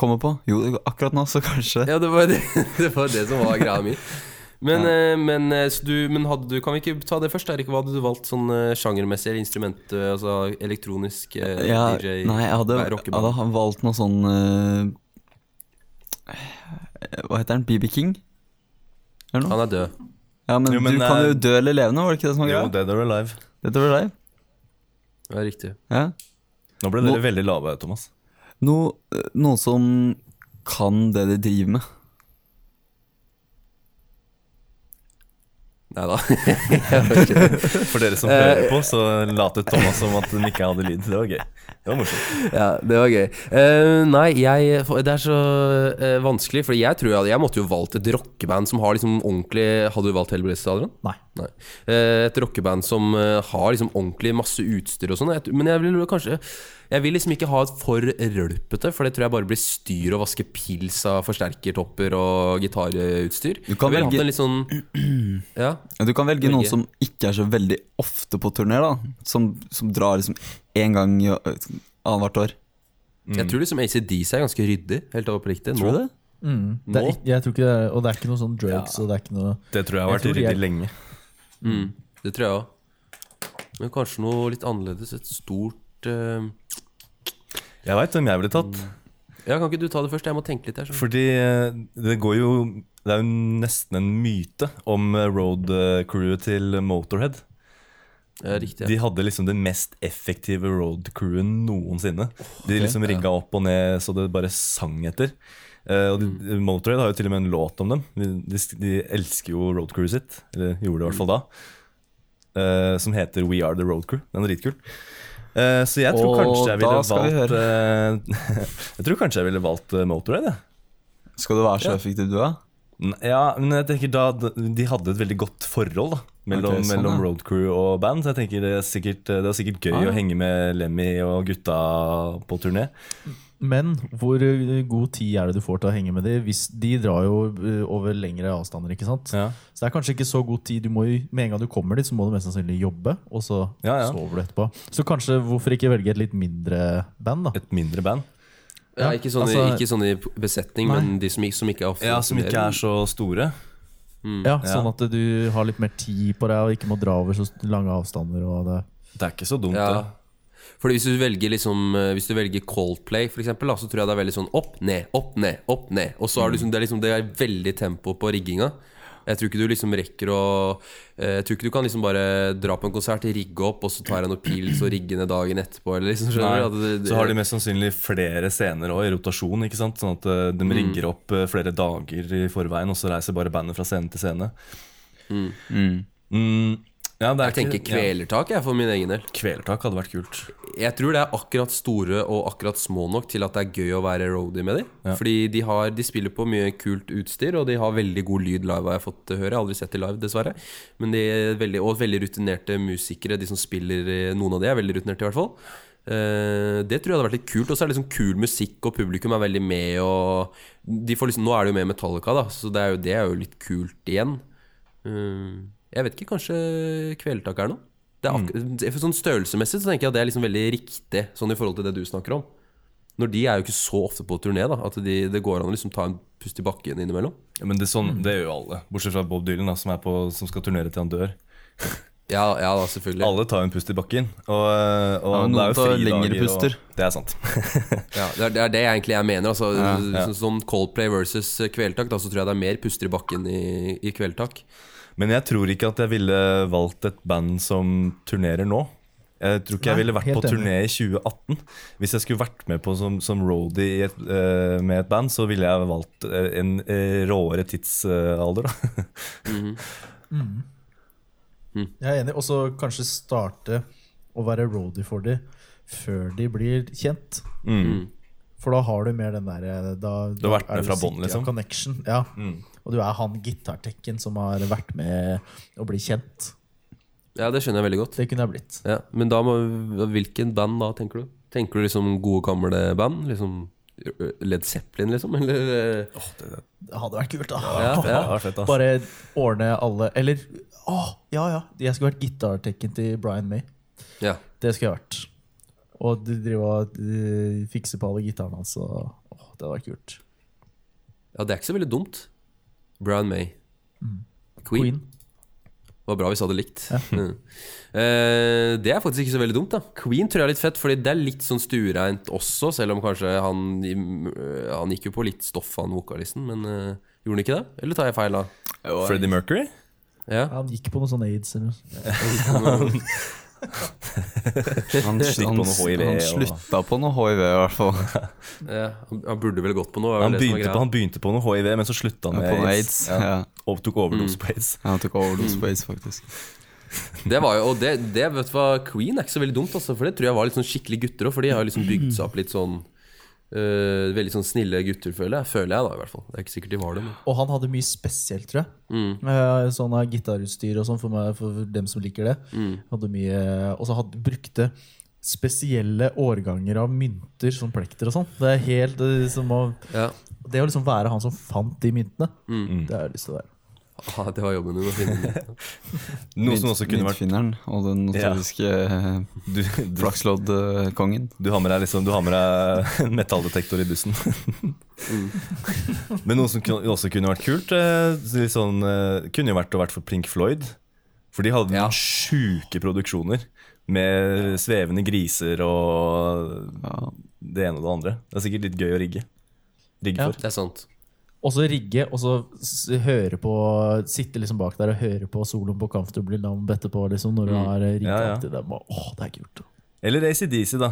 Speaker 3: kommer på. Jo, akkurat nå, så kanskje.
Speaker 2: Ja, det var det, (laughs) det, var det som var greia mi. Men, eh, men, eh, så du, men hadde du Kan vi ikke ta det først? Erik? Hva hadde du valgt sånn eh, sjangermessig eller instrument? eh, Altså elektronisk eh,
Speaker 3: Ja,
Speaker 2: DJ?
Speaker 3: nei, jeg hadde,
Speaker 2: nei,
Speaker 3: jeg
Speaker 2: rockeband.
Speaker 3: hadde valgt noe sånn eh, Hva heter den? BB King? Eller noe?
Speaker 2: Han er død.
Speaker 3: Ja, men,
Speaker 1: Jo, men,
Speaker 3: du kan
Speaker 1: eh,
Speaker 3: jo dø eller levende, var det ikke det som var
Speaker 1: Jo,
Speaker 3: greia?
Speaker 1: Dead or Alive.
Speaker 3: Dette var deg.
Speaker 2: Ja, riktig.
Speaker 3: Ja.
Speaker 1: Nå ble
Speaker 3: Nå-
Speaker 1: dere veldig lave, Thomas.
Speaker 3: No, eh, noen som kan det de driver med.
Speaker 2: Nei da. Jeg vet ikke.
Speaker 1: For dere som hører
Speaker 3: Eh,
Speaker 1: på, så latet Thomas som at den ikke hadde lyd. Det var gøy. Det var morsomt.
Speaker 2: (laughs) Ja, det var gøy. Eh, nei, jeg, for- det er så eh, vanskelig, for jeg tror jeg, hadde- jeg måtte jo valgt et rockeband som har liksom ordentlig Hadde du valgt Hellbillies, Adrian?
Speaker 4: Nei.
Speaker 2: Nei. Eh, et rockeband som eh, har liksom ordentlig masse utstyr og sånn. Jeg t- Men jeg vil jo kanskje Jeg vil liksom ikke ha et for rølpete, for det tror jeg bare blir styr å vaske pils av forsterkertopper og gitarutstyr.
Speaker 3: Du kan
Speaker 2: jeg vil
Speaker 3: velge-
Speaker 2: ha en litt sånn Ja.
Speaker 3: Ja, Du kan velge noen
Speaker 2: Velge.
Speaker 3: som ikke er så veldig ofte på turné, da. Som, som drar liksom én gang i å- eh, annethvert år.
Speaker 2: Jeg tror liksom ACDC er ganske ryddig, helt oppriktig. nå.
Speaker 3: Tror du det?
Speaker 4: Mm. Det er,
Speaker 2: Nå?
Speaker 4: ikke- jeg tror ikke det er, og det er ikke noe sånn drugs, og det er ikke noe
Speaker 1: Det tror jeg har
Speaker 4: Jeg
Speaker 1: vært
Speaker 4: tror de
Speaker 1: ryddig
Speaker 4: er-
Speaker 1: lenge.
Speaker 2: Mm, det tror jeg òg. Men kanskje noe litt annerledes. Et stort eh,
Speaker 1: Jeg veit hvem jeg ville tatt.
Speaker 2: Ja, Kan ikke du ta det først? Jeg må tenke litt. her så.
Speaker 1: Fordi eh, det går jo Det er jo nesten en myte om eh, road eh, crewet til Motorhead.
Speaker 2: Ja, riktig.
Speaker 1: De hadde liksom det mest effektive road crewen noensinne. De liksom rigga opp og ned så det bare sang etter. Eh, og de,
Speaker 3: Mm.
Speaker 1: Motorhead har jo til og med en låt om dem. De, de, de elsker jo road crewet sitt. Eller gjorde det i hvert
Speaker 3: Mm.
Speaker 1: fall da. Eh, som heter We Are The Road Crew. Den er dritkul. Eh, så jeg tror
Speaker 3: Og
Speaker 1: kanskje jeg ville
Speaker 3: da skal vi
Speaker 1: valgt eh, (laughs) Jeg tror kanskje jeg ville valgt eh, Motorhead, jeg.
Speaker 3: Skal du være så effektiv du er?
Speaker 1: N- Ja, men jeg tenker da De hadde et veldig godt forhold da mellom,
Speaker 3: Ok, sånn,
Speaker 1: mellom
Speaker 3: ja.
Speaker 1: road crew og band. Så jeg tenker det, er sikkert, eh, det var sikkert gøy
Speaker 3: Ah, ja.
Speaker 1: å henge med Lemmy og gutta på turné.
Speaker 4: Men hvor eh, god tid er det du får til å henge med de? Hvis de drar jo eh, over lengre avstander, ikke sant?
Speaker 1: Ja.
Speaker 4: Så det er kanskje ikke så god tid. Du må jo, med en gang du kommer dit, så må du mest sannsynlig jobbe, og så
Speaker 1: Ja, ja.
Speaker 4: sover du etterpå. Så kanskje hvorfor ikke velge et litt mindre band, da?
Speaker 1: Et mindre band.
Speaker 2: ja, ikke, sånne,
Speaker 4: altså-
Speaker 2: ikke sånne i besetning, men de som, ikke- som ikke er offentlig-
Speaker 1: Ja, Som ikke er så store.
Speaker 4: Ja, Sånn at du har litt mer tid på deg og ikke må dra over så lange avstander. Og det.
Speaker 1: Det er ikke så dumt,
Speaker 2: ja.
Speaker 1: det.
Speaker 2: Fordi hvis du velger liksom eh, Hvis du velger Coldplay, for eksempel, da, så tror jeg det er veldig sånn opp, ned, opp, ned, opp, ned. Og så er
Speaker 1: Mm.
Speaker 2: det, liksom, det, er liksom, det er veldig tempo på rigginga. Jeg tror ikke du liksom rekker å eh, Jeg tror ikke du kan liksom bare dra på en konsert, rigge opp, og så tar jeg noen pils og rigge ned dagen etterpå, eller liksom, skjønner du? At
Speaker 1: Nei,
Speaker 2: det- det-
Speaker 1: så har de mest sannsynlig flere scener også i rotasjon. ikke sant? Sånn at eh, de rigger opp eh, flere dager i forveien, og så reiser bare bandet fra scene til scene. Mm. Ja, det er
Speaker 2: Jeg tenker
Speaker 1: ikke- ja.
Speaker 2: kvelertak, jeg, for min egen del.
Speaker 1: Kvelertak hadde vært kult.
Speaker 2: Jeg tror det er akkurat store og akkurat små nok til at det er gøy å være roadie med dem. Fordi de, har, de spiller på mye kult utstyr, og de har veldig god lyd live, har jeg fått høre. Jeg har aldri sett de live, dessverre. Men de er veldig, og veldig rutinerte musikere, de som spiller eh, Noen av de er veldig rutinerte, i hvert fall. Eh, det tror jeg hadde vært litt kult. Og så er det liksom kul musikk, og publikum er veldig med, og de får liksom, Nå er det jo med Metallica, da, så det er jo, det er jo litt kult igjen. Eh, jeg vet ikke, kanskje kvelertak er noe? Det er akkur- for sånn Størrelsesmessig så tenker jeg at det er liksom veldig riktig, sånn i forhold til det du snakker om. Når de er jo ikke så ofte på turné, da, at de, det går an å liksom ta en pust i bakken innimellom.
Speaker 3: Mm.
Speaker 1: Ja, men det, er sånn, det gjør jo alle, bortsett fra Bob Dylan, da, som, er på, som skal turnere til han dør.
Speaker 2: Ja, ja da, selvfølgelig.
Speaker 1: Alle tar en pust i bakken. Og, og
Speaker 3: Ja,
Speaker 1: det er
Speaker 3: men noen
Speaker 1: jo
Speaker 3: tar
Speaker 1: fridager,
Speaker 3: lengre puster.
Speaker 1: Og, det er sant.
Speaker 2: Ja, det, er, det er det jeg egentlig jeg mener. Altså,
Speaker 1: ja.
Speaker 2: Sånn som Coldplay versus Kvelertak, da, så tror jeg det er mer puster i bakken i, i Kvelertak.
Speaker 1: Men jeg tror ikke at jeg ville valgt et band som turnerer nå. Jeg tror ikke jeg
Speaker 4: Nei,
Speaker 1: ville vært
Speaker 4: helt
Speaker 1: på turné i 2018. Hvis jeg skulle vært med på som, som roadie i et, eh, med et band, så ville jeg valgt eh, en eh, råere tidsalder. da. (laughs)
Speaker 2: Mhm,
Speaker 4: Jeg er enig. Og så kanskje starte å være roadie for de før de blir kjent.
Speaker 2: Mm.
Speaker 1: Mm.
Speaker 2: mhm.
Speaker 4: For da har du mer den der eh, da, Du
Speaker 1: har vært med fra bånn, liksom. Mm.
Speaker 4: Connection, ja. Og du er han gitartekken som har vært med å bli kjent.
Speaker 2: Ja, det skjønner jeg veldig godt.
Speaker 4: Det kunne jeg blitt.
Speaker 2: Ja, men da må, hvilken band da, tenker du? Tenker du liksom gode gamle band? Liksom Led Zeppelin, liksom? Eller eh,
Speaker 4: Det hadde vært kult, da.
Speaker 2: ja, ja.
Speaker 4: (laughs)
Speaker 1: Det var fett, ass.
Speaker 4: Bare ordne alle Eller å, ja ja! Jeg skulle vært gitartekken til Brian May.
Speaker 2: ja.
Speaker 4: Det skulle jeg vært. Og du driver og eh, fikser på alle gitarene hans. og- Åh, det hadde vært kult.
Speaker 2: ja, det er ikke så veldig dumt. Brian May.
Speaker 1: Mm.
Speaker 2: Queen.
Speaker 4: Queen.
Speaker 2: Det var bra hvis jeg hadde likt. (laughs) Mm. Eh, det er faktisk ikke så veldig dumt, da. Queen tror jeg er litt fett, Fordi det er litt sånn stuereint også, selv om kanskje han eh, Han gikk jo på litt stoff, han vokalisten, men eh, gjorde han ikke det? Eller tar jeg feil da?
Speaker 1: Freddie Mercury? (laughs)
Speaker 2: Ja.
Speaker 4: Han gikk på noe sånn aids eller noe.
Speaker 3: Han,
Speaker 1: Stikk på
Speaker 3: han,
Speaker 1: noe HIV
Speaker 3: han
Speaker 1: og-
Speaker 3: slutta på noe HIV, i hvert fall.
Speaker 2: Ja, han, han burde vel gått på noe. var vel
Speaker 1: Han
Speaker 2: det som var
Speaker 1: begynte,
Speaker 2: greia.
Speaker 1: på, han begynte på noe HIV, men så slutta han
Speaker 3: På
Speaker 1: med
Speaker 3: aids.
Speaker 1: aids.
Speaker 3: Ja.
Speaker 1: Og tok overdose
Speaker 2: Mm.
Speaker 1: på aids.
Speaker 3: Han tok overdose på aids, faktisk.
Speaker 2: Det var jo, og det, det vet du hva, Queen er ikke så veldig dumt, altså, for det tror jeg var litt sånn skikkelig gutter òg. For de har liksom bygd seg opp litt sånn øh, Veldig sånn snille gutter, føler jeg. Føler jeg da, i hvert fall. Det er ikke sikkert de var det. Men. mm,
Speaker 4: Og han hadde mye spesielt, tror jeg. Eh, Sånn av gitarutstyr og sånn, for, meg- for dem som liker det.
Speaker 2: mm.
Speaker 4: Hadde mye, og så hadde, brukte spesielle årganger av mynter som plekter og sånn. Det er helt det, er som å,
Speaker 2: Ja. mm.
Speaker 4: det å liksom være han som fant de myntene, det har jeg lyst til å være.
Speaker 2: Ah, det var jobben din å finne den.
Speaker 1: Noe som også kunne vært
Speaker 3: Myntfinneren og den notoriske eh,
Speaker 1: Du, du,
Speaker 3: flaksloddkongen.
Speaker 1: du har med deg liksom, du har med deg (laughs) en metalldetektor i bussen. (laughs) Men noe som kun- også kunne vært kult, eh, litt sånn, eh, kunne jo vært å vært for Pink Floyd. For de hadde
Speaker 2: Ja.
Speaker 1: noen sjuke produksjoner med svevende griser og
Speaker 3: Ja.
Speaker 1: det ene og det andre. Det er sikkert litt gøy å rigge. Rigge
Speaker 4: Ja.
Speaker 1: for.
Speaker 2: Det er sant. (laughs)
Speaker 4: Og så rigge, og så s- høre på Sitte liksom bak der og høre på soloen på Comfortably Numb etterpå, liksom, når du har eh, rigga
Speaker 1: Ja, ja.
Speaker 4: opp til dem. og, Åh, det er kult.
Speaker 1: Eller ACDC, da.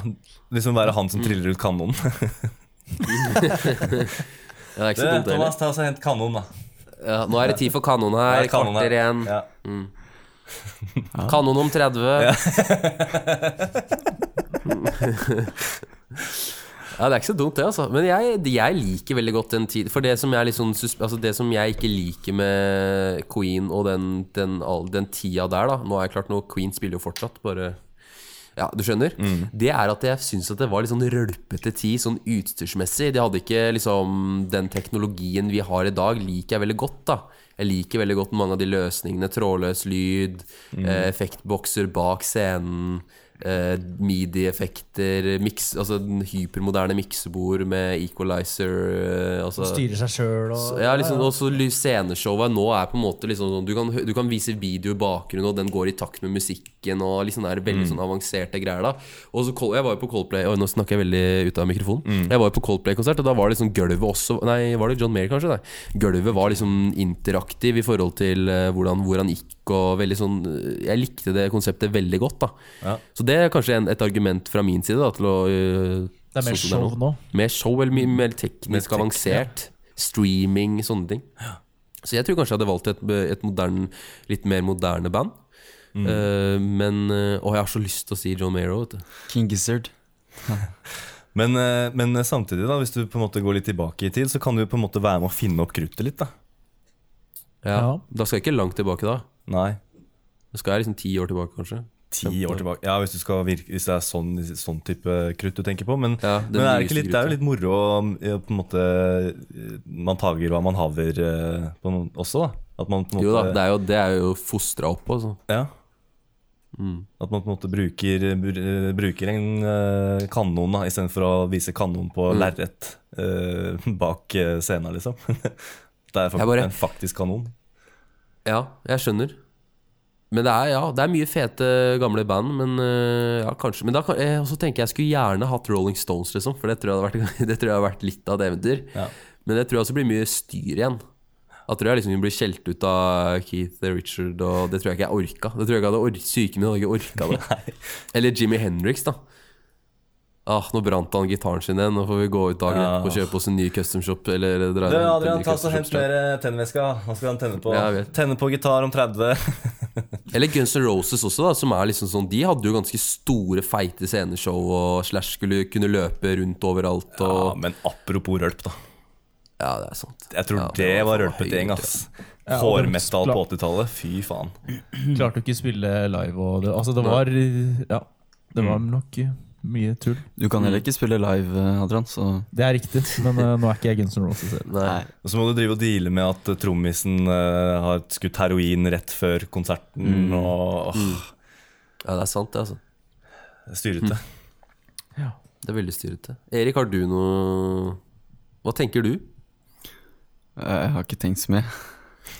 Speaker 1: Liksom være han som triller ut kanonen.
Speaker 2: Ja, det er ikke så dumt heller.
Speaker 1: ta oss og hent kanonen, da.
Speaker 2: Ja, nå er det tid for kanon her. Kvarter igjen.
Speaker 1: Ja.
Speaker 2: Kanon om 30. (laughs) Ja. det er ikke så dumt, det, altså. Men jeg, jeg liker veldig godt den tid For det som, jeg liksom, altså det som jeg ikke liker med Queen og den, den, all- den tida der, da Nå er det klart, nå Queen spiller jo fortsatt, bare ja, du skjønner? Det er at jeg syns at det var litt sånn rølpete tid, sånn utstyrsmessig. De hadde ikke liksom Den teknologien vi har i dag, liker jeg veldig godt, da. Jeg liker veldig godt mange av de løsningene. Trådløs lyd, eh, effektbokser bak scenen, eh, medieeffekter, miks, altså den hypermoderne miksebord med equalizer eh, altså,
Speaker 4: Styrer seg sjøl og
Speaker 2: ja, liksom, og så ly- sceneshowet nå er på en måte liksom sånn du kan, hø- du kan vise video i bakgrunnen, og den går i takt med musikken, og liksom det er veldig sånn avanserte greier da. Og så Col- jeg var jo på Coldplay Oi, nå snakker jeg veldig ut av mikrofonen. Jeg var jo på Coldplay-konsert, og da var liksom gulvet også Nei, var det John Mayer, kanskje? Nei. Gulvet var liksom interaktiv i forhold til eh, hvordan, hvor han gikk, og veldig sånn eh, Jeg likte det konseptet veldig godt, da.
Speaker 1: Ja.
Speaker 2: Så det er kanskje en, et argument fra min side da, til å eh,
Speaker 4: Det er mer
Speaker 2: sånn som
Speaker 4: show nå.
Speaker 2: mer show eller mye mer teknisk
Speaker 1: Mer tek-
Speaker 2: avansert. Streaming, sånne ting. Så jeg tror kanskje jeg hadde valgt et, et modern, litt mer moderne band. Eh, men eh, Å, jeg har så lyst til å si John Mayer òg, vet du.
Speaker 3: King Gizzard.
Speaker 1: Men, eh, men samtidig, da, hvis du på en måte går litt tilbake i tid, så kan du på en måte være med å finne opp kruttet litt. da
Speaker 2: Ja.
Speaker 4: Ja.
Speaker 2: Da skal jeg ikke langt tilbake, da.
Speaker 1: Nei,
Speaker 2: Da skal jeg liksom ti år tilbake, kanskje.
Speaker 1: ti år tilbake. Ja, Hvis, du skal virke, hvis det er sånn, sånn type krutt du tenker på. Men,
Speaker 2: Ja, det
Speaker 1: men er det,
Speaker 2: nyeste
Speaker 1: ikke litt, det er jo litt moro å eh, på en måte eh, Man tager hva man haver eh, på noen, også, da. At man på en måte
Speaker 2: Jo da, det er jo, det er jo fostra opp, altså.
Speaker 1: ja.
Speaker 2: Mm.
Speaker 1: At man på en måte bruker, br- bruker en eh, kanon da istedenfor å vise kanon på
Speaker 2: Mm.
Speaker 1: lerret eh, (laughs) bak eh, scenen, liksom. (laughs) det er
Speaker 2: Jeg
Speaker 1: faktisk
Speaker 2: bare-
Speaker 1: en faktisk kanon.
Speaker 2: Ja, jeg skjønner. Men det er, ja, det er mye fete gamle band, men øh, ja, kanskje Men da kan, jeg også tenker jeg skulle gjerne hatt Rolling Stones, liksom, for det tror jeg hadde vært, (laughs) det tror jeg hadde vært litt av et eventyr.
Speaker 1: Ja.
Speaker 2: Men det tror jeg også blir mye styr igjen. Da tror jeg liksom hun blir skjelt ut av Keith Richard, og det tror jeg ikke jeg orka. Det tror jeg ikke jeg hadde or Syken min hadde ikke orka
Speaker 1: (laughs)
Speaker 2: det. Eller Jimmy Hendrix, da. Ah, nå brant han gitaren sin igjen. Nå får vi gå ut dagen
Speaker 1: Ja.
Speaker 2: etterpå og kjøpe oss en ny custom shop. Eller dra
Speaker 1: Du,
Speaker 2: til en
Speaker 1: Adrian,
Speaker 2: ny
Speaker 1: ta så
Speaker 2: custom
Speaker 1: hent
Speaker 2: shop.
Speaker 1: mer eh, tennvæske. da. Nå skal han tenne på,
Speaker 2: Ja, jeg vet.
Speaker 1: tenne på gitar om 30.
Speaker 2: Eller Guns N' Roses også, da, som er liksom sånn De hadde jo ganske store, feite sceneshow og Slash skulle kunne løpe rundt overalt og
Speaker 1: Ja,
Speaker 2: Ja,
Speaker 1: men apropos rølp, da.
Speaker 2: det er sant.
Speaker 1: Jeg tror
Speaker 2: Ja,
Speaker 1: det var
Speaker 2: faen
Speaker 1: rølpete
Speaker 2: høyt,
Speaker 1: gjeng,
Speaker 2: ja.
Speaker 1: ass.
Speaker 4: Ja, og den
Speaker 1: Hårmetall på 80-tallet. Fy faen.
Speaker 4: Klarte jo ikke å spille live og det Altså, det var Ja. Det var nok eh, mye tull.
Speaker 3: Du kan heller ikke spille live, eh, Adrian, så
Speaker 4: Det er riktig, men eh, nå er ikke jeg Guns N' Roses selv.
Speaker 2: Nei.
Speaker 3: Nei.
Speaker 1: Og så må du drive og deale med at eh, trommisen eh, har skutt heroin rett før konserten, og åh,
Speaker 2: Ja, det er sant, det, altså.
Speaker 1: det er styrete.
Speaker 2: Det er veldig styrete. Erik, har du noe Hva tenker du?
Speaker 3: Jeg har ikke tenkt så mye.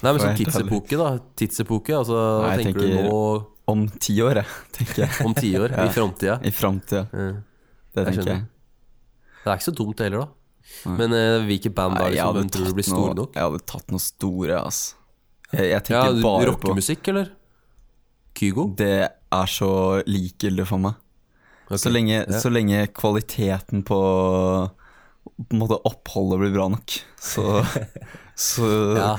Speaker 2: Nei, men
Speaker 3: For å
Speaker 2: sånn
Speaker 3: være helt ærlig.
Speaker 2: tidsepoke, da. Tidsepoke, altså Hva
Speaker 3: Nei, jeg
Speaker 2: tenker, du
Speaker 3: tenker-
Speaker 2: nå
Speaker 3: Om ti år, jeg, (laughs) tenker jeg.
Speaker 2: om tiår?
Speaker 3: (laughs) Ja.
Speaker 2: I framtida?
Speaker 3: I framtida.
Speaker 2: Eh,
Speaker 3: Det
Speaker 2: Jeg
Speaker 3: tenker jeg.
Speaker 2: skjønner. Det er ikke så dumt heller, da.
Speaker 3: Nei.
Speaker 2: Men eh, hvilke band da
Speaker 3: Nei, jeg
Speaker 2: liksom,
Speaker 3: hadde
Speaker 2: hvem tror du blir
Speaker 3: tatt
Speaker 2: store
Speaker 3: noe-
Speaker 2: nok?
Speaker 3: Jeg hadde tatt noe store, ass. Jeg, jeg
Speaker 2: Ja,
Speaker 3: tenker bare på
Speaker 2: Rockemusikk, eller? Kygo?
Speaker 3: Det er så likegyldig for meg. Så,
Speaker 2: Ok.
Speaker 3: lenge, så lenge kvaliteten på På en måte oppholdet blir bra nok,
Speaker 2: (laughs)
Speaker 3: så, så
Speaker 2: Ja.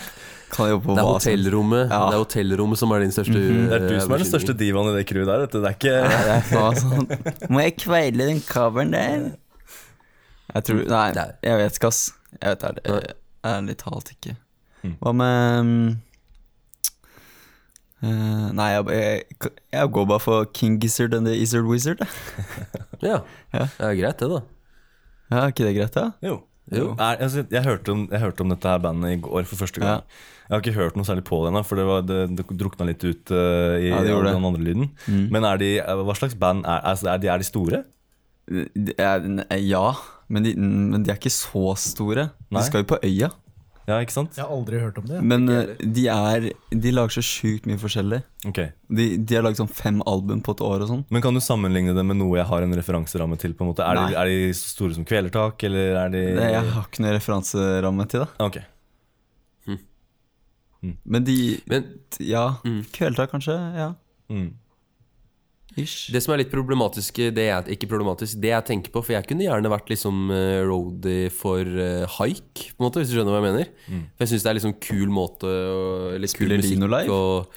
Speaker 3: kan jeg jobbe på
Speaker 2: Det er
Speaker 3: hva som
Speaker 2: hotellrommet
Speaker 3: Ja. Mhm.
Speaker 2: Det er hotellrommet som er din største eh,
Speaker 1: Det er du som er den største divaen i det crewet der. Vet du. Det er ikke
Speaker 3: Jeg sa sånn Må jeg kveile den coveren der? Jeg tror Nei,
Speaker 2: Nei.
Speaker 3: jeg vet ikke, ass. Jeg vet ærlig,
Speaker 2: Nei.
Speaker 3: ærlig talt ikke. Hva med mm, eh, nei, jeg, jeg, jeg går bare for King Gizzard and the Izzard Wizard. jeg.
Speaker 2: Ja.
Speaker 3: Ja.
Speaker 2: ja, greit det, da.
Speaker 3: Ja, Er ikke det greit, da?
Speaker 1: Jo.
Speaker 2: Jo.
Speaker 1: Er, altså, jeg, hørte om, jeg hørte om dette her bandet i går for første gang.
Speaker 3: Ja.
Speaker 1: Jeg har ikke hørt noe særlig på det ennå, for det, var, det, det drukna litt ut eh, i
Speaker 3: Ja, det
Speaker 1: all
Speaker 3: gjorde det. Mm.
Speaker 1: den andre lyden. Men er de, eh, hva slags band er, altså, er, de, er de store?
Speaker 3: Det er- nei, Ja, men de, men de er ikke så store.
Speaker 1: Nei.
Speaker 3: De skal jo på øya.
Speaker 1: Ja, ikke sant?
Speaker 4: Jeg har aldri hørt om det.
Speaker 3: Men eh, de er De lager så sjukt mye forskjellig.
Speaker 1: Ok
Speaker 3: De, de har lagd sånn fem album på et år og sånn.
Speaker 1: Men kan du sammenligne det med noe jeg har en referanseramme til? på en måte? Er, de,
Speaker 3: Nei.
Speaker 1: er de så store som Kvelertak, eller er de
Speaker 3: Det- Jeg har ikke noe referanseramme til det.
Speaker 1: Ok.
Speaker 3: Men de
Speaker 2: Men
Speaker 3: Ja. Kvelertak, kanskje? Ja.
Speaker 1: Mm.
Speaker 3: Ish.
Speaker 2: det som er litt problematisk, det jeg, ikke problematisk, det jeg tenker på For jeg kunne gjerne vært liksom eh, roadie for eh, haik, på en måte, hvis du skjønner hva jeg mener. For jeg syns det er liksom kul måte å Eller kul
Speaker 3: Mm. Lino
Speaker 2: musikk
Speaker 3: Live?
Speaker 2: og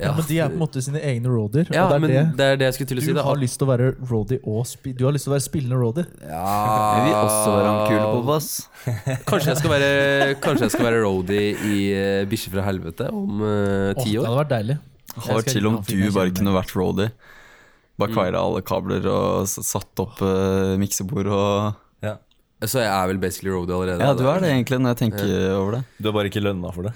Speaker 4: Ja, men De er på en måte sine egne roadier.
Speaker 2: Ja,
Speaker 4: og
Speaker 2: men
Speaker 4: det er det.
Speaker 2: det er det jeg skulle til å si.
Speaker 4: Du
Speaker 2: da.
Speaker 4: har lyst til å være roadie og spi Du har lyst til å være spillende roadie.
Speaker 3: (laughs) Jeg vil også være han
Speaker 2: Ah.
Speaker 3: kule på bass.
Speaker 2: Kanskje jeg skal være, kanskje jeg skal være roadie i eh, Bikkje fra helvete om eh,
Speaker 4: Åh,
Speaker 2: ti
Speaker 4: Det
Speaker 2: år.
Speaker 4: hadde vært deilig.
Speaker 3: Det hadde vært chill om du bare kunne vært roadie. Bare kvaila alle kabler og s- satt opp uh, miksebord og
Speaker 1: Ja.
Speaker 2: Så jeg er vel basically roadie allerede.
Speaker 3: Ja, du er det egentlig, når jeg tenker over det.
Speaker 1: Du er bare ikke lønna for det?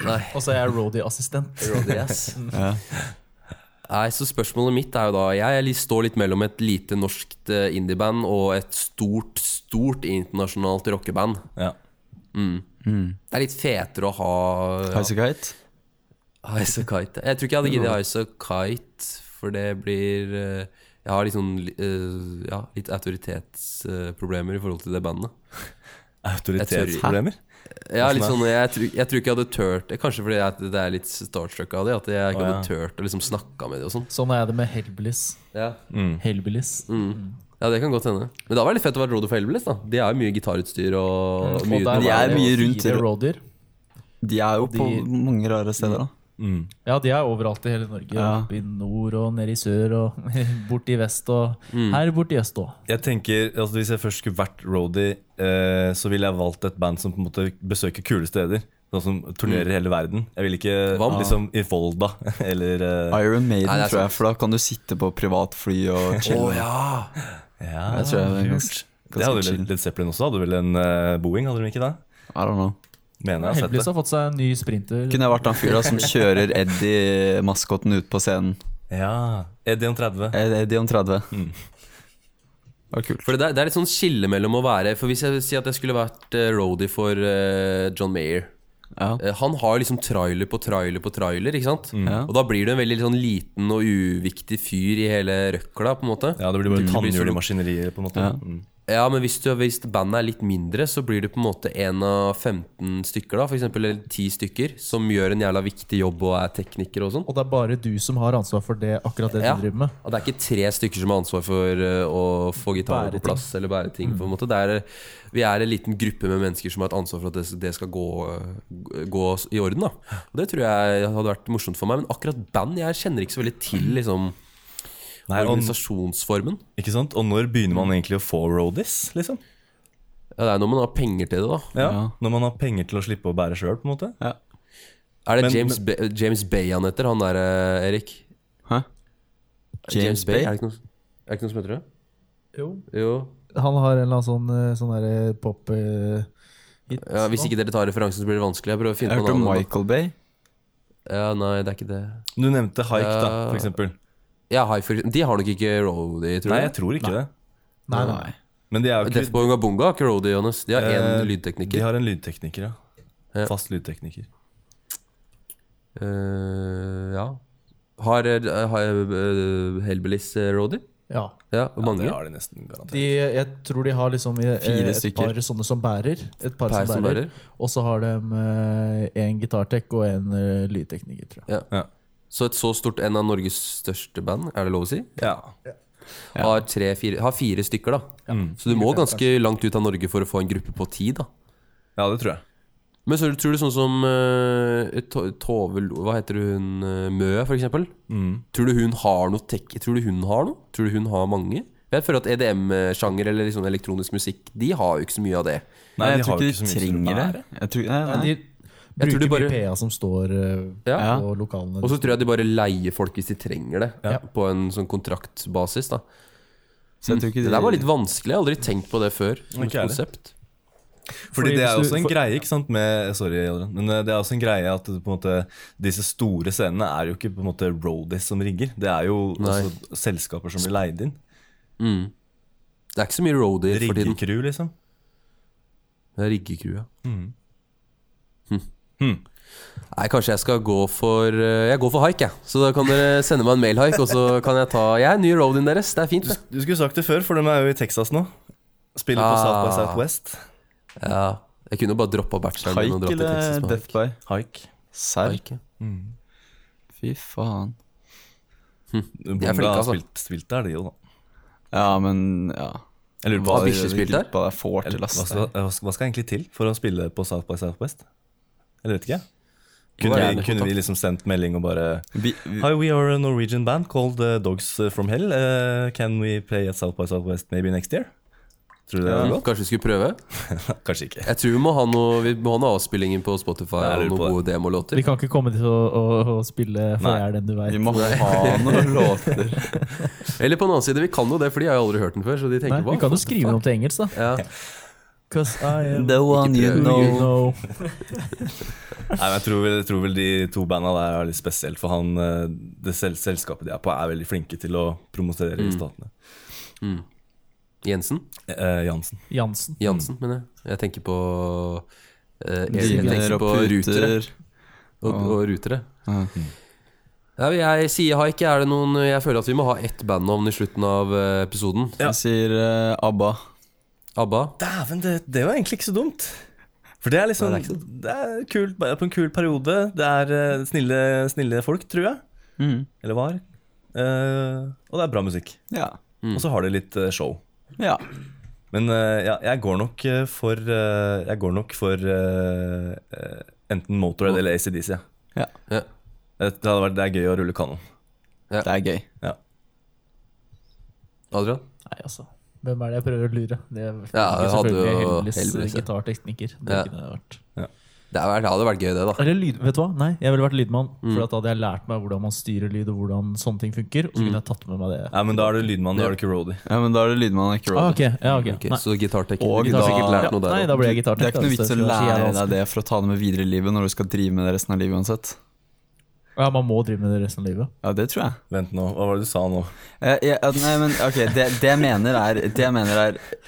Speaker 2: Nei.
Speaker 4: Og så er jeg (laughs) roadie-assistent.
Speaker 2: Roadie, ass. Nei, så spørsmålet mitt er jo da Jeg li- står litt mellom et lite norskt eh, indieband og et stort, stort internasjonalt rockeband. Mm.
Speaker 1: Ja. Mm.
Speaker 2: Det er litt fetere å ha ja,
Speaker 3: Highasakite?
Speaker 2: Ice og Kite. Jeg tror ikke jeg hadde giddet Ice og Kite, for det blir eh, Jeg har litt sånn eh, ja, litt autoritetsproblemer i forhold til det bandet.
Speaker 1: Autoritetsproblemer?
Speaker 2: Ja, litt
Speaker 1: Hvordan
Speaker 2: sånn, jeg, tror, jeg tror ikke jeg hadde turt Kanskje fordi jeg, det er litt starstruck av det, at jeg ikke
Speaker 1: Å, ja.
Speaker 2: hadde turt å liksom snakke med det og sånn.
Speaker 4: Sånn er det med Hellbillies.
Speaker 2: Ja.
Speaker 4: Mm. Hellbillies.
Speaker 2: Mm. Ja, det kan godt hende. Men det hadde vært litt fett å være Rodo for Elvelis, da. De har jo mye gitarutstyr og mye
Speaker 4: Mm. Og der
Speaker 3: de
Speaker 4: var
Speaker 3: er
Speaker 4: det
Speaker 3: mye
Speaker 4: fire
Speaker 3: rundt i ro-
Speaker 4: roadier.
Speaker 3: De er jo på
Speaker 4: De-
Speaker 3: mange rare steder, da.
Speaker 1: Mm.
Speaker 4: Ja, de er overalt i hele Norge.
Speaker 3: Ja.
Speaker 4: Oppe i nord og nede i sør og (laughs) borte i vest og
Speaker 2: Mm.
Speaker 4: her borte i øst òg.
Speaker 1: Jeg tenker, altså Hvis jeg først skulle vært roadie, eh, så ville jeg valgt et band som på en måte besøker kule steder. Sånn som turnerer i hele verden. Jeg ville ikke
Speaker 2: Hva?
Speaker 1: liksom i Volda (laughs) eller eh,
Speaker 3: Iron Maiden,
Speaker 2: Nei, det er
Speaker 3: tror jeg, for da kan du sitte på privatfly og
Speaker 2: Å
Speaker 3: chille.
Speaker 2: ja!
Speaker 1: ja,
Speaker 3: Jeg tror jeg er ganske,
Speaker 1: Det hadde
Speaker 3: ganske
Speaker 1: vel
Speaker 3: chill.
Speaker 1: Led Zeppelin også. Hadde vel en eh, Boeing, hadde de ikke det?
Speaker 3: I don't know.
Speaker 1: Mener jeg har sett
Speaker 4: Hellbillies
Speaker 1: det.
Speaker 4: har fått seg en ny sprinter.
Speaker 3: Kunne jeg vært han fyra som kjører Eddie-maskoten ut på scenen?
Speaker 1: Ja, E Edion 30.
Speaker 3: Ed- Eddie om 30. Det var kult.
Speaker 2: For det, er- det er litt sånn skille mellom å være For hvis jeg sier at jeg skulle vært uh, roadie for eh, John Mayer,
Speaker 3: Ja.
Speaker 2: Eh, Han har liksom trailer på trailer på trailer, ikke sant?
Speaker 3: Ja.
Speaker 2: Og da blir du en veldig sånn liten og uviktig fyr i hele røkla, på en måte.
Speaker 1: Ja, det blir bare
Speaker 2: Du blir
Speaker 1: tannhjul
Speaker 2: så-
Speaker 1: i maskineriet, på en måte.
Speaker 3: Ja.
Speaker 1: Mm.
Speaker 2: Ja, men hvis, du, hvis bandet er litt mindre, så blir det på en måte en av 15 stykker, da, for eksempel, eller 10 stykker, som gjør en jævla viktig jobb og er teknikere og sånn.
Speaker 4: Og det er bare du som har ansvar for det akkurat det
Speaker 2: Ja.
Speaker 4: du driver med.
Speaker 2: Og det er ikke tre stykker som har ansvar for eh, å få gitaren
Speaker 4: Bære
Speaker 2: på plass eller bære ting. på en måte det er, eh, Vi er en liten gruppe med mennesker som har et ansvar for at det, det skal gå, eh, gå i orden. da Og Det tror jeg hadde vært morsomt for meg. Men akkurat band Jeg kjenner ikke så veldig til liksom,
Speaker 1: Nei, og,
Speaker 2: organisasjonsformen.
Speaker 1: ikke sant? og når begynner man egentlig å få roadies, liksom?
Speaker 2: Ja, det er når man har penger til det, da.
Speaker 1: Ja,
Speaker 3: Ja.
Speaker 1: Når man har penger til å slippe å bære sjøl, på en måte.
Speaker 3: Ja.
Speaker 2: Er det
Speaker 1: Men-
Speaker 2: James, Bay- James Bay han heter, han der eh, Erik?
Speaker 3: Hæ? James Bay?
Speaker 2: Er det ikke noe, er det ikke noe som heter det? Jo.
Speaker 4: Han har en eller annen sånn, eh, sånn derre pop eh, hit.
Speaker 2: Ja, hvis ikke dere tar referansen, så blir det vanskelig. Jeg prøver å
Speaker 3: Jeg
Speaker 2: finne på
Speaker 3: hørte om
Speaker 2: noe annet.
Speaker 3: Michael Bay.
Speaker 2: Ja, nei, det er ikke det.
Speaker 1: Du nevnte Haik, da,
Speaker 2: Ja.
Speaker 1: for eksempel.
Speaker 2: Ja, High Frequency. De har nok ikke Roadie, tror
Speaker 1: Nei,
Speaker 2: jeg.
Speaker 1: jeg tror ikke det.
Speaker 4: Nei, nei.
Speaker 1: Men de, er jo
Speaker 2: Death
Speaker 1: ikke,
Speaker 2: på Unga Bunga har ikke Roadie, Johannes. De har én
Speaker 1: Eh, de
Speaker 2: lydtekniker.
Speaker 1: har en lydtekniker, ja.
Speaker 2: Ja.
Speaker 1: Fast lydtekniker.
Speaker 2: Eh, ja. Har, eh, har eh, Hellbillies eh, Roadie?
Speaker 4: Ja.
Speaker 2: Ja, hvor mange?
Speaker 1: Det har de nesten garantert.
Speaker 4: De, jeg tror de har liksom eh,
Speaker 3: Fire
Speaker 4: et
Speaker 3: stykker.
Speaker 4: par sånne som bærer. Et par
Speaker 2: Per
Speaker 4: som
Speaker 2: som
Speaker 4: bærer.
Speaker 2: bærer.
Speaker 4: Og så har de eh, en gitartek og en eh, lydtekniker, tror jeg.
Speaker 2: Så et så stort en av Norges største band, er det lov å si?
Speaker 1: Ja.
Speaker 2: Har, tre, fire, har fire stykker, da. Så du må ganske langt ut av Norge for å få en gruppe på ti, da.
Speaker 1: ja, det tror jeg.
Speaker 2: Men så tror du sånn som eh, To- Tove Lo- Hva heter hun? eh, Mø, for eksempel. Tror du hun har noe tek... Tror du hun har noe? Tror du hun har mange? Jeg føler at EDM-sjanger eller liksom elektronisk musikk, de har jo ikke så mye av det.
Speaker 1: Nei,
Speaker 3: jeg
Speaker 1: de har
Speaker 3: tror
Speaker 1: jo
Speaker 3: ikke
Speaker 1: ikke
Speaker 3: de
Speaker 1: så mye som
Speaker 3: trenger det.
Speaker 1: bærer.
Speaker 3: Jeg tror, nei, nei.
Speaker 4: De
Speaker 2: tror
Speaker 4: bruker
Speaker 2: de bare-
Speaker 4: mye PA som står eh,
Speaker 2: Ja.
Speaker 3: Ja.
Speaker 4: på lokalene.
Speaker 2: Og så tror jeg de bare leier folk hvis de trenger det,
Speaker 4: Ja.
Speaker 2: på en sånn kontraktbasis. da
Speaker 3: Så jeg tror ikke
Speaker 2: Det
Speaker 3: de,
Speaker 2: der var litt vanskelig, jeg har aldri tenkt på det før. Som
Speaker 1: Ikke
Speaker 2: et
Speaker 1: jeg heller.
Speaker 2: konsept
Speaker 1: Fordi
Speaker 4: Fordi
Speaker 1: det er
Speaker 4: hvis
Speaker 1: også
Speaker 4: du-
Speaker 1: en
Speaker 4: for-
Speaker 1: greie ikke sant, med Sorry, Adrian. Men eh, det er også en greie at det på en måte, disse store scenene er jo ikke på en måte roadies som rigger. Det er jo
Speaker 2: Nei.
Speaker 1: også selskaper som blir leid inn.
Speaker 2: Det er ikke så mye roadie for tiden.
Speaker 1: Riggecrew, liksom.
Speaker 2: Det er riggecrew, ja. Hm. Nei, kanskje jeg skal gå for eh, Jeg går for haik, jeg. Så da kan dere sende meg en mail-haik, og så kan jeg ta Jeg er ny roadien deres. Det er fint, det.
Speaker 1: Du skulle sagt det før, for de er jo i Texas nå. Spiller på
Speaker 2: Ah.
Speaker 1: South by Southwest.
Speaker 2: Ja. Jeg kunne jo bare droppa bacheloren min og
Speaker 3: Haik
Speaker 2: dratt til Texas
Speaker 3: eller eh,
Speaker 2: med
Speaker 3: Death By?
Speaker 1: Hike.
Speaker 3: Serr?
Speaker 2: haik. ja.
Speaker 3: Fy faen.
Speaker 1: Bonga
Speaker 2: flinke,
Speaker 1: har
Speaker 2: altså.
Speaker 1: spilt, spilt der, de jo, da.
Speaker 3: Ja, men ja.
Speaker 1: Jeg lurer på
Speaker 2: Hva
Speaker 1: hva,
Speaker 2: Bikkje spilt der?
Speaker 3: Hva det får til,
Speaker 1: hva,
Speaker 3: ass.
Speaker 1: skal, hva skal- hva skal egentlig til for å spille på South by Southwest? Jeg vet ikke. Kunne
Speaker 2: Hvor er
Speaker 1: vi,
Speaker 2: det?
Speaker 1: kunne vi liksom sendt melding og bare
Speaker 3: Vi, vi,
Speaker 1: Hi, we are a Norwegian band called uh, Dogs from Hell. Uh, can we play at South by Southwest maybe next year? Tror du det er godt?
Speaker 2: Kanskje vi skulle prøve?
Speaker 1: (laughs) Kanskje ikke.
Speaker 2: Jeg tror vi må ha noe Vi må ha noe avspillinger på Spotify
Speaker 1: Nei, jeg
Speaker 2: og
Speaker 1: lurer
Speaker 2: noen
Speaker 1: på
Speaker 2: gode demolåter.
Speaker 4: Vi kan ikke komme til å, å, å spille For
Speaker 1: Nei.
Speaker 4: jeg er den du
Speaker 3: vi
Speaker 4: veit.
Speaker 3: må ha noen låter.
Speaker 2: Eller på den annen side, vi kan jo det, for de har jo aldri hørt den før. Så de tenker
Speaker 4: Nei,
Speaker 2: hva
Speaker 4: vi kan jo
Speaker 2: faen?
Speaker 4: skrive den om til engelsk, da.
Speaker 2: Ja.
Speaker 4: 'Cause I am
Speaker 3: The one you
Speaker 4: who you
Speaker 3: know.
Speaker 4: know.
Speaker 1: Nei, men jeg tror vel, jeg tror vel de to banda der er litt spesielt, for han, uh, det sel selskapet de er på, er veldig flinke til å promotere i statene.
Speaker 2: Mm. Jensen?
Speaker 1: Eh, Jansen.
Speaker 4: Jansen.
Speaker 2: Jansen, mener jeg. Jeg tenker på eh, jeg, jeg
Speaker 3: Dyner
Speaker 2: tenker
Speaker 3: og
Speaker 2: på rutere
Speaker 3: puter.
Speaker 2: og, og rutere.
Speaker 3: Ja.
Speaker 2: Ja, men jeg sier haik. Er det noen Jeg føler at vi må ha ett bandnavn i slutten av eh, episoden.
Speaker 1: Ja.
Speaker 3: Jeg sier eh, ABBA.
Speaker 2: ABBA.
Speaker 1: Dæven, det, det var egentlig ikke så dumt. For det er liksom
Speaker 2: Nei, det er
Speaker 1: Det er kult, bare på en kul periode. Det er uh, snille, snille folk, tror jeg.
Speaker 4: Mm.
Speaker 1: Eller var. Eh, og det er bra musikk.
Speaker 3: Ja.
Speaker 1: Og så har de litt eh, show.
Speaker 3: ja.
Speaker 1: Men eh, ja, jeg går nok eh, for eh, Jeg går nok for eh, eh, enten Motorhead
Speaker 3: Mm.
Speaker 1: eller ACDC. Ja. Eh,
Speaker 3: Ja.
Speaker 2: Ja.
Speaker 1: Det hadde vært det er gøy å rulle kanon.
Speaker 3: Det er gøy.
Speaker 1: Ja.
Speaker 2: Adrian?
Speaker 4: Nei, altså. Hvem er det jeg prøver å lure? Det er
Speaker 2: Ja, jeg
Speaker 4: ikke
Speaker 2: hadde jo
Speaker 4: selvfølgelig Hellbillies
Speaker 2: Hellbillies, ja.
Speaker 4: gitarteknikker. Det
Speaker 2: Ja.
Speaker 4: kunne det vært.
Speaker 2: Det hadde vært- det hadde vært gøy, det, da.
Speaker 4: Eller lyd, vet du hva? Nei, jeg ville vært lydmann. For at da hadde jeg lært meg hvordan man styrer lyd, og hvordan sånne ting funker. Og så kunne jeg tatt med meg det.
Speaker 1: Nei, men da er du lydmann, da er du ikke roadie.
Speaker 3: Ja, men da er det lydmann og ikke
Speaker 4: Ah,
Speaker 3: roadie.
Speaker 4: ok, ja, ok,
Speaker 2: Ok,
Speaker 4: Nei.
Speaker 2: så gitarteknikk.
Speaker 3: Og
Speaker 2: Vi har
Speaker 3: da-
Speaker 2: sikkert lært noe der
Speaker 4: Nei,
Speaker 2: også.
Speaker 4: da blir jeg
Speaker 3: Det er
Speaker 4: gitartekniker.
Speaker 3: ikke noe vits å lære deg
Speaker 4: det.
Speaker 3: det for å ta det med videre i livet når du skal drive med det resten av livet uansett.
Speaker 4: Ja, Man må drive med det resten av livet.
Speaker 3: Ja, det tror jeg.
Speaker 1: Vent nå, hva var det du sa nå?
Speaker 3: Eh, ja, at- nei, men ok, det, det jeg mener er Det jeg mener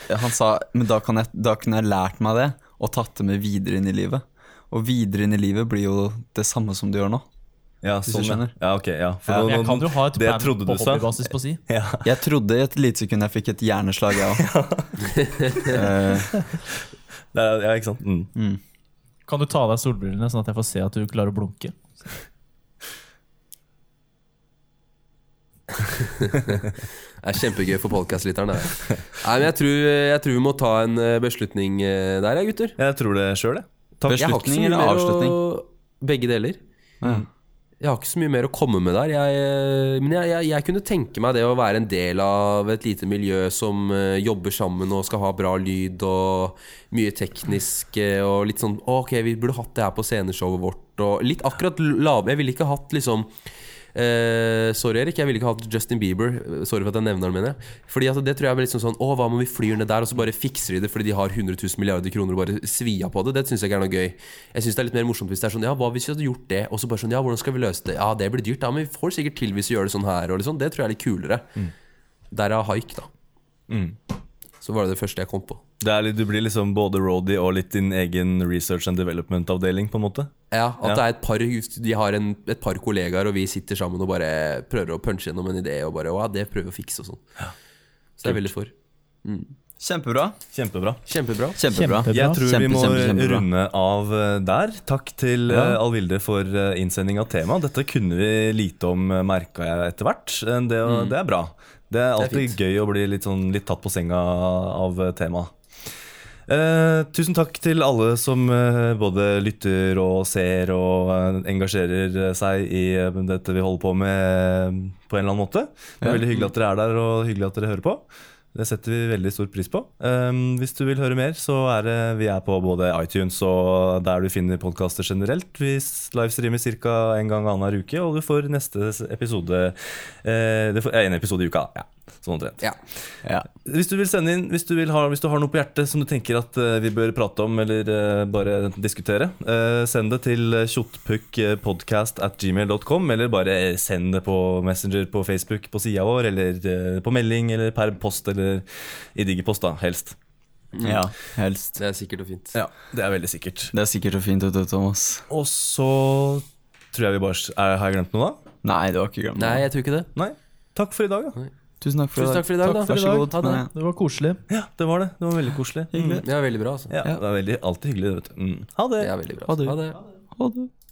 Speaker 3: er Han sa Men da kan jeg, da kunne jeg lært meg det og tatt det med videre inn i livet. Og videre inn i livet blir jo det samme som du gjør nå.
Speaker 1: Ja,
Speaker 3: Hvis du
Speaker 1: sånn, ja.
Speaker 3: skjønner.
Speaker 1: ja, ok, ja. For
Speaker 4: Jeg
Speaker 1: nå-
Speaker 4: kan jo ha et
Speaker 1: det
Speaker 4: band
Speaker 1: trodde
Speaker 4: på
Speaker 1: du sa.
Speaker 4: hobbybasis på si.
Speaker 1: (laughs) Ja.
Speaker 3: Jeg trodde i et lite sekund jeg fikk et hjerneslag, jeg
Speaker 2: (laughs)
Speaker 3: Eh, òg.
Speaker 1: Det er, ja, ikke sant? Mm.
Speaker 4: Kan du ta av deg solbrillene, sånn at jeg får se at du klarer å blunke?
Speaker 2: Det er kjempegøy for podkastlytteren.
Speaker 3: (laughs)
Speaker 2: Nei, men jeg tror, jeg tror vi må ta en eh, beslutning eh, der, ja, gutter.
Speaker 1: Jeg tror det sjøl, jeg. Takk.
Speaker 2: Jeg har ikke så
Speaker 3: Beslutning
Speaker 2: mye
Speaker 3: eller
Speaker 2: mer å- Mm.
Speaker 3: avslutning?
Speaker 2: Begge deler. Jeg har ikke så mye mer å komme med der. Jeg, eh, men jeg, jeg, jeg kunne tenke meg det å være en del av et lite miljø som eh, jobber sammen og skal ha bra lyd og mye teknisk eh, og litt sånn Ok, vi burde hatt det her på sceneshowet vårt og litt akkurat lave Jeg ville ikke hatt liksom eh, sorry, Erik. Jeg ville ikke hatt Justin Bieber. Sorry for at jeg nevner han, mener jeg. Fordi at det tror jeg blir liksom sånn Å, hva om vi flyr ned der, og så bare fikser de det fordi de har 100 000 milliarder kroner og bare svia på det? Det syns jeg ikke er noe gøy. Jeg syns det er litt mer morsomt hvis det er sånn Ja, hva hvis vi hadde gjort det? Og så bare sånn Ja, hvordan skal vi løse det? Ja, det blir dyrt, da, men vi får sikkert til hvis vi gjør det sånn her, og liksom. Det tror jeg er litt kulere. Derav haik, da. Så var det det første jeg kom på.
Speaker 1: Det er litt, du blir liksom både roadie og litt din egen research and development-avdeling, på en måte.
Speaker 2: Ja, at det er et par De har en, et par kollegaer, og vi sitter sammen og bare prøver å punche gjennom en idé og bare Å, det prøver vi å fikse og sånn. Så det er veldig for.
Speaker 3: Kjempebra.
Speaker 1: Kjempebra.
Speaker 2: Kjempebra.
Speaker 3: Kjempebra.
Speaker 4: Kjempe-
Speaker 1: Jeg tror vi
Speaker 3: Kjempe,
Speaker 1: må
Speaker 3: kjempe, kjempebra.
Speaker 1: runde av eh, der. Takk til ja. Alvilde for eh, innsending av tema. Dette kunne vi lite om, merka jeg etter hvert. Eh, Det,
Speaker 3: Mm.
Speaker 1: det er bra. Det er alltid gøy å bli litt, sånn, litt tatt på senga av eh, tema. Eh, tusen takk til alle som eh, både lytter og ser og eh, engasjerer seg i eh, dette vi holder på med eh, på en eller annen måte. Det er veldig hyggelig at dere er der og hyggelig at dere hører på. Det setter vi veldig stor pris på. Eh, hvis du vil høre mer, så er det, vi er på både iTunes og der du finner podkaster generelt. Vi s- livestreamer ca. en gang annenhver uke, og du får neste s- episode eh, det får, eh, En episode i uka. Ja, sånn omtrent.
Speaker 2: Ja.
Speaker 3: Ja.
Speaker 1: Hvis du vil sende inn, hvis du, vil ha, hvis du har noe på hjertet som du tenker at eh, vi bør prate om eller eh, bare diskutere, eh, send det til tjottpukkpodcast at gmail.com, eller bare eh, send det på Messenger på Facebook på sida vår, eller eh, på melding, eller per post, eller i digipost, da, helst.
Speaker 3: ja, Mm. helst.
Speaker 2: Det er sikkert og fint.
Speaker 1: Ja, det er veldig sikkert.
Speaker 3: Det er sikkert så fint ut, det, Thomas.
Speaker 1: Og så tror jeg vi bare er, Har jeg glemt noe, da?
Speaker 3: Nei, det var ikke glemt.
Speaker 2: Nei, jeg tror ikke det.
Speaker 1: Nei. Takk for i dag, da.
Speaker 3: Tusen takk for i
Speaker 2: Tusen
Speaker 3: dag.
Speaker 2: takk for i dag, da.
Speaker 3: Vær så god.
Speaker 2: Ha det.
Speaker 3: Men-
Speaker 4: Det var koselig.
Speaker 1: Ja, det var det. Det var veldig koselig. Mm.
Speaker 2: Ja, veldig bra, altså.
Speaker 1: Ja, det er veldig, alltid hyggelig, vet du. Mm. Ha det.
Speaker 2: Det er veldig bra.
Speaker 3: Ha det.
Speaker 2: Ha det.
Speaker 3: Ha det.